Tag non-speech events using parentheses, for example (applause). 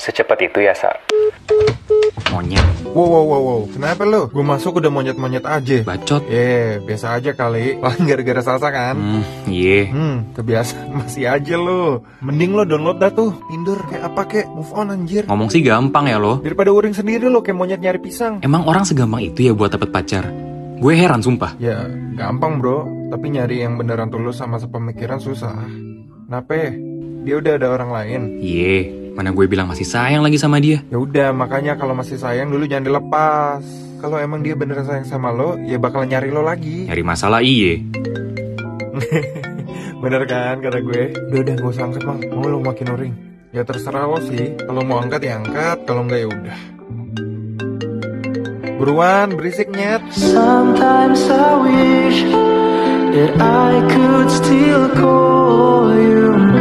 secepat itu ya, Sa? Monyet, Wow, wow, wow, wow. Kenapa lo? Gue masuk udah monyet-monyet aja. bacot. Eh, biasa aja kali. (laughs) Lah gara-gara salsa kan? Hmm, iye. Hmm, kebiasaan (laughs) masih aja lo. Mending lo download dah tuh. Tinder kayak apa kek? Move on anjir. Ngomong sih gampang ya lo. Daripada uring sendiri lo kayak monyet nyari pisang. Emang orang segampang itu ya buat dapet pacar? Gue heran sumpah. Ya, gampang bro. Tapi nyari yang beneran tulus sama sepemikiran susah. Nape? Dia udah ada orang lain. Iye, mana gue bilang masih sayang lagi sama dia. Ya udah, makanya kalau masih sayang dulu jangan dilepas. Kalau emang dia beneran sayang sama lo, ya bakalan nyari lo lagi. Nyari masalah iye. Bener kan kata gue? Udah udah gak usah angkat bang, mau lo makin uring. Ya terserah lo sih, kalau mau angkat ya angkat, kalau enggak ya udah. Buruan, berisik nyet. Sometimes I wish that I could still call you